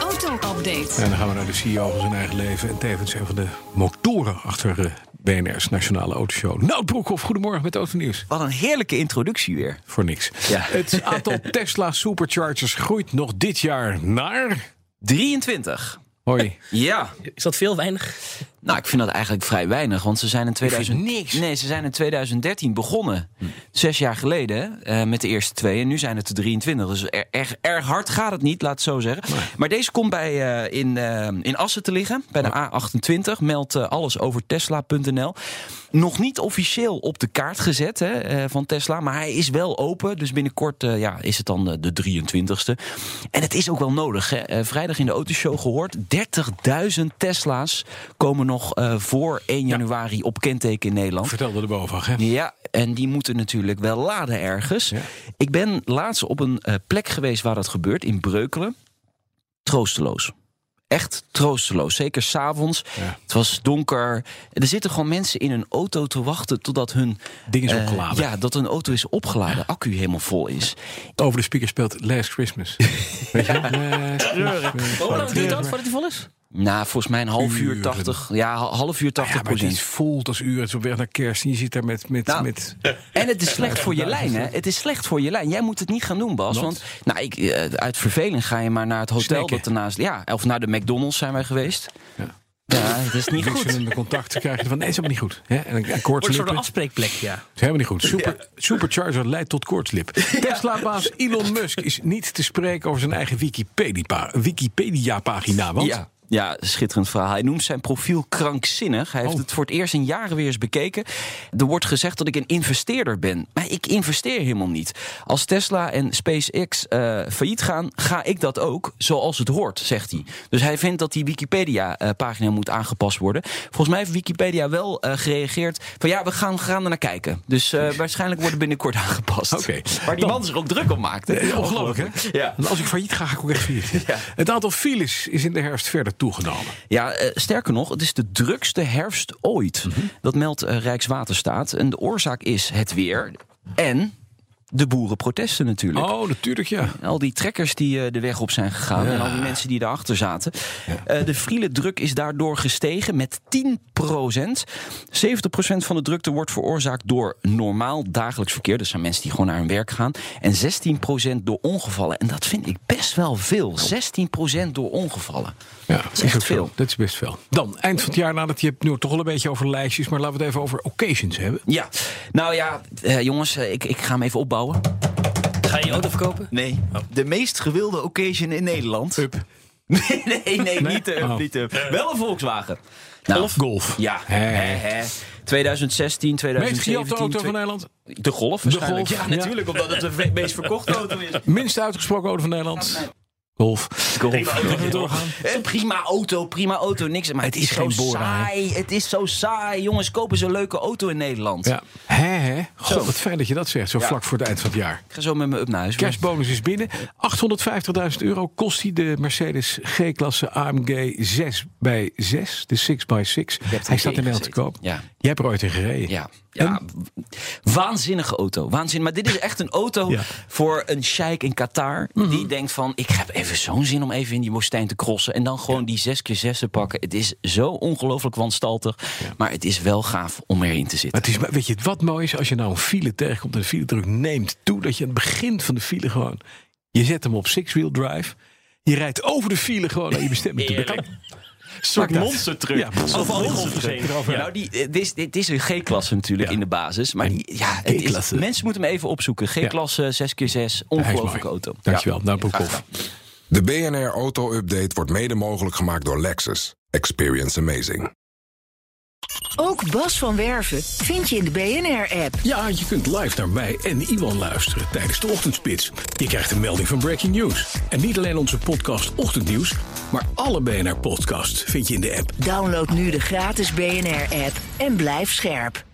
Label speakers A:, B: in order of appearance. A: Auto-update.
B: En dan gaan we naar de CEO van zijn eigen leven. En tevens een van de motoren achter eh, BNR's Nationale Autoshow. Nout Broekhoff, goedemorgen met Autonieuws.
C: Wat een heerlijke introductie weer.
B: Voor niks. Het aantal Tesla Superchargers groeit nog dit jaar naar...
C: 23.
B: Hoi.
C: Ja.
D: Is dat veel weinig?
C: Nou, ik vind dat eigenlijk vrij weinig, want ze zijn in 2000...
B: vind niks. Hm.
C: Nee, ze zijn in 2013 begonnen. Zes jaar geleden eh, met de eerste twee. En nu zijn het de 23. Dus er- erg, erg hard gaat het niet, laat het zo zeggen. Maar deze komt bij, eh, in, eh, in Assen te liggen, bij de A28. Meld eh, alles over Tesla.nl. Nog niet officieel op de kaart gezet hè, eh, van Tesla, maar hij is wel open. Dus binnenkort eh, ja, is het dan eh, de 23ste. En het is ook wel nodig. Hè. Eh, vrijdag in de autoshow gehoord, 30.000 Tesla's komen nog eh, voor 1 januari op kenteken in Nederland.
B: Vertelde de BOVAG, hè?
C: Ja, en die moeten natuurlijk wel laden ergens. Ik ben laatst op een eh, plek geweest waar dat gebeurt, in Breukelen. Troosteloos. Echt troosteloos. Zeker s'avonds. Het was donker. Er zitten gewoon mensen in een auto te wachten totdat hun.
B: Ding is
C: eh,
B: opgeladen.
C: ja, dat hun auto is opgeladen. Accu helemaal vol is.
B: Over de speaker speelt Last Christmas. Weet je wel? Eh, nou, Last Christmas.
D: Hoe lang duurt dat voordat hij vol is?
C: Nou, volgens mij een half uur
B: Uren.
C: 80. Ja, ha- half uur 80
B: Ja, maar het
C: procent.
B: is vol als uur. Het is op weg naar kerst. En je zit daar met... met,
C: Nou,
B: met...
C: En het is slecht voor je lijn, hè? Het is slecht voor je lijn. Jij moet het niet gaan doen, Bas.
B: Wat?
C: Want nou, ik, eh, uit verveling ga je maar naar het hotel
B: Snacken.
C: dat ernaast. Ja, of naar de McDonald's zijn wij geweest. Ja, dat is niet goed.
B: Wisselende contacten krijgen van nee, is helemaal niet goed. Hè? En een
D: Wordt een soort
B: koortslippen.
D: afspreekplek, ja.
B: Is helemaal niet goed. Super, Supercharger leidt tot koortslip. Tesla-baas Elon Musk is niet te spreken over zijn eigen Wikipedia- Wikipedia-pagina. want
C: Ja. Ja, schitterend verhaal. Hij noemt zijn profiel krankzinnig. Hij heeft
B: Oh.
C: het voor het eerst in jaren weer eens bekeken. Er wordt gezegd dat ik een investeerder ben. Maar ik investeer helemaal niet. Als Tesla en SpaceX eh, failliet gaan, ga ik dat ook zoals het hoort, zegt hij. Dus hij vindt dat die Wikipedia-pagina moet aangepast worden. Volgens mij heeft Wikipedia wel eh, gereageerd van ja, we gaan, we gaan er naar kijken. Dus eh, waarschijnlijk wordt het binnenkort aangepast.
B: Oké.
C: Waar die man zich ook druk om maakte.
B: Eh, Ongelooflijk, hè?
C: Ja.
B: Want als ik failliet ga, ga ik ook echt failliet. Het aantal files is in de herfst verder toegenomen.
C: Ja, eh, sterker nog, het is de drukste herfst ooit. Dat meldt eh, Rijkswaterstaat. En de oorzaak is het weer en de boerenprotesten natuurlijk.
B: Oh, natuurlijk, ja.
C: Al die trekkers die eh, de weg op zijn gegaan en al die mensen die daarachter zaten. Eh, de friele druk is daardoor gestegen met 10 70 van de drukte wordt veroorzaakt door normaal dagelijks verkeer. Dat zijn mensen die gewoon naar hun werk gaan. En 16 door ongevallen. En dat vind ik best wel veel. 16 door ongevallen.
B: Ja,
C: is echt
B: ook zo.
C: veel.
B: Dat is best veel. Dan, eind van het jaar nadat je hebt nu toch al een beetje over lijstjes, maar laten we het even over occasions hebben.
C: Ja, nou ja, eh, jongens, eh, ik, ik ga hem even opbouwen.
D: Ga je je auto verkopen?
C: Nee,
B: Oh.
C: de meest gewilde occasion in Nederland.
B: Up.
C: Nee, nee, nee, niet de up,
B: Oh.
C: niet de up. Wel een Volkswagen. Nou,
B: Of golf.
C: Ja,
B: Hè, hè.
C: hè, hè. 2016,
B: Meest gejapte
C: 2017.
B: auto van
C: twee-
B: Nederland.
C: de Golf waarschijnlijk.
B: Golf,
C: ja,
B: ja.
C: natuurlijk, omdat het de ve- meest verkochte auto is.
B: Minst uitgesproken auto van Nederland. Golf.
C: Eh, Prima auto, prima auto, niks. Maar het is,
B: geen
C: zo
B: Bora, hè.
C: saai. Het is zo saai. Jongens, kopen zo'n leuke auto in Nederland.
B: Ja. Hè, hè? God, wat fijn dat je dat zegt, zo vlak voor het eind van het jaar.
C: Ik ga zo met mijn up naar huis.
B: Kerstbonus is binnen. 850.000 euro kost hij de Mercedes G-klasse AMG 6 bij 6 de 6x6.
C: hebt
B: Hij
C: hem
B: staat in Nederland te koop.
C: Ja.
B: Jij hebt er ooit in gereden.
C: Ja, ja w- waanzinnige auto. Waanzin. Maar dit is echt een auto
B: Ja. Mhm.
C: voor een sheik in Qatar. Die denkt van, ik heb even zo'n zin om even in die woestijn te crossen. En dan gewoon die 6 keer 6 te pakken. Het is zo ongelooflijk wanstaltig. Maar het is wel gaaf om erin te zitten.
B: Maar het is, maar weet je wat mooi is? Als je nou een file tegenkomt en de file druk neemt toe, dat je aan het begin van de file gewoon. Je zet hem op six-wheel drive. Je rijdt over de file gewoon naar je bestemming toe. Dat kan.
D: soort
B: Maakt uit.
D: monstertruck.
B: Ja, precies.
D: Of alcoholverzekerd.
C: Nou, die, eh, dit, is, dit is een G-klasse natuurlijk
B: Ja.
C: in de basis. Maar die, ja, het is-
B: G-klasse.
C: mensen moeten hem even opzoeken. G-klasse, 6x6,
B: Hij is
C: ongelooflijke
B: mooi.
C: auto.
B: Dankjewel. Nou, Broekhoff.
E: De BNR Auto Update wordt mede mogelijk gemaakt door Lexus. Experience amazing.
A: Ook Bas van Werven vind je in de BNR-app.
B: Ja, je kunt live naar mij en Iwan luisteren tijdens de ochtendspits. Je krijgt een melding van Breaking News. En niet alleen onze podcast Ochtendnieuws, maar alle BNR-podcasts vind je in de app.
A: Download nu de gratis BNR-app en blijf scherp.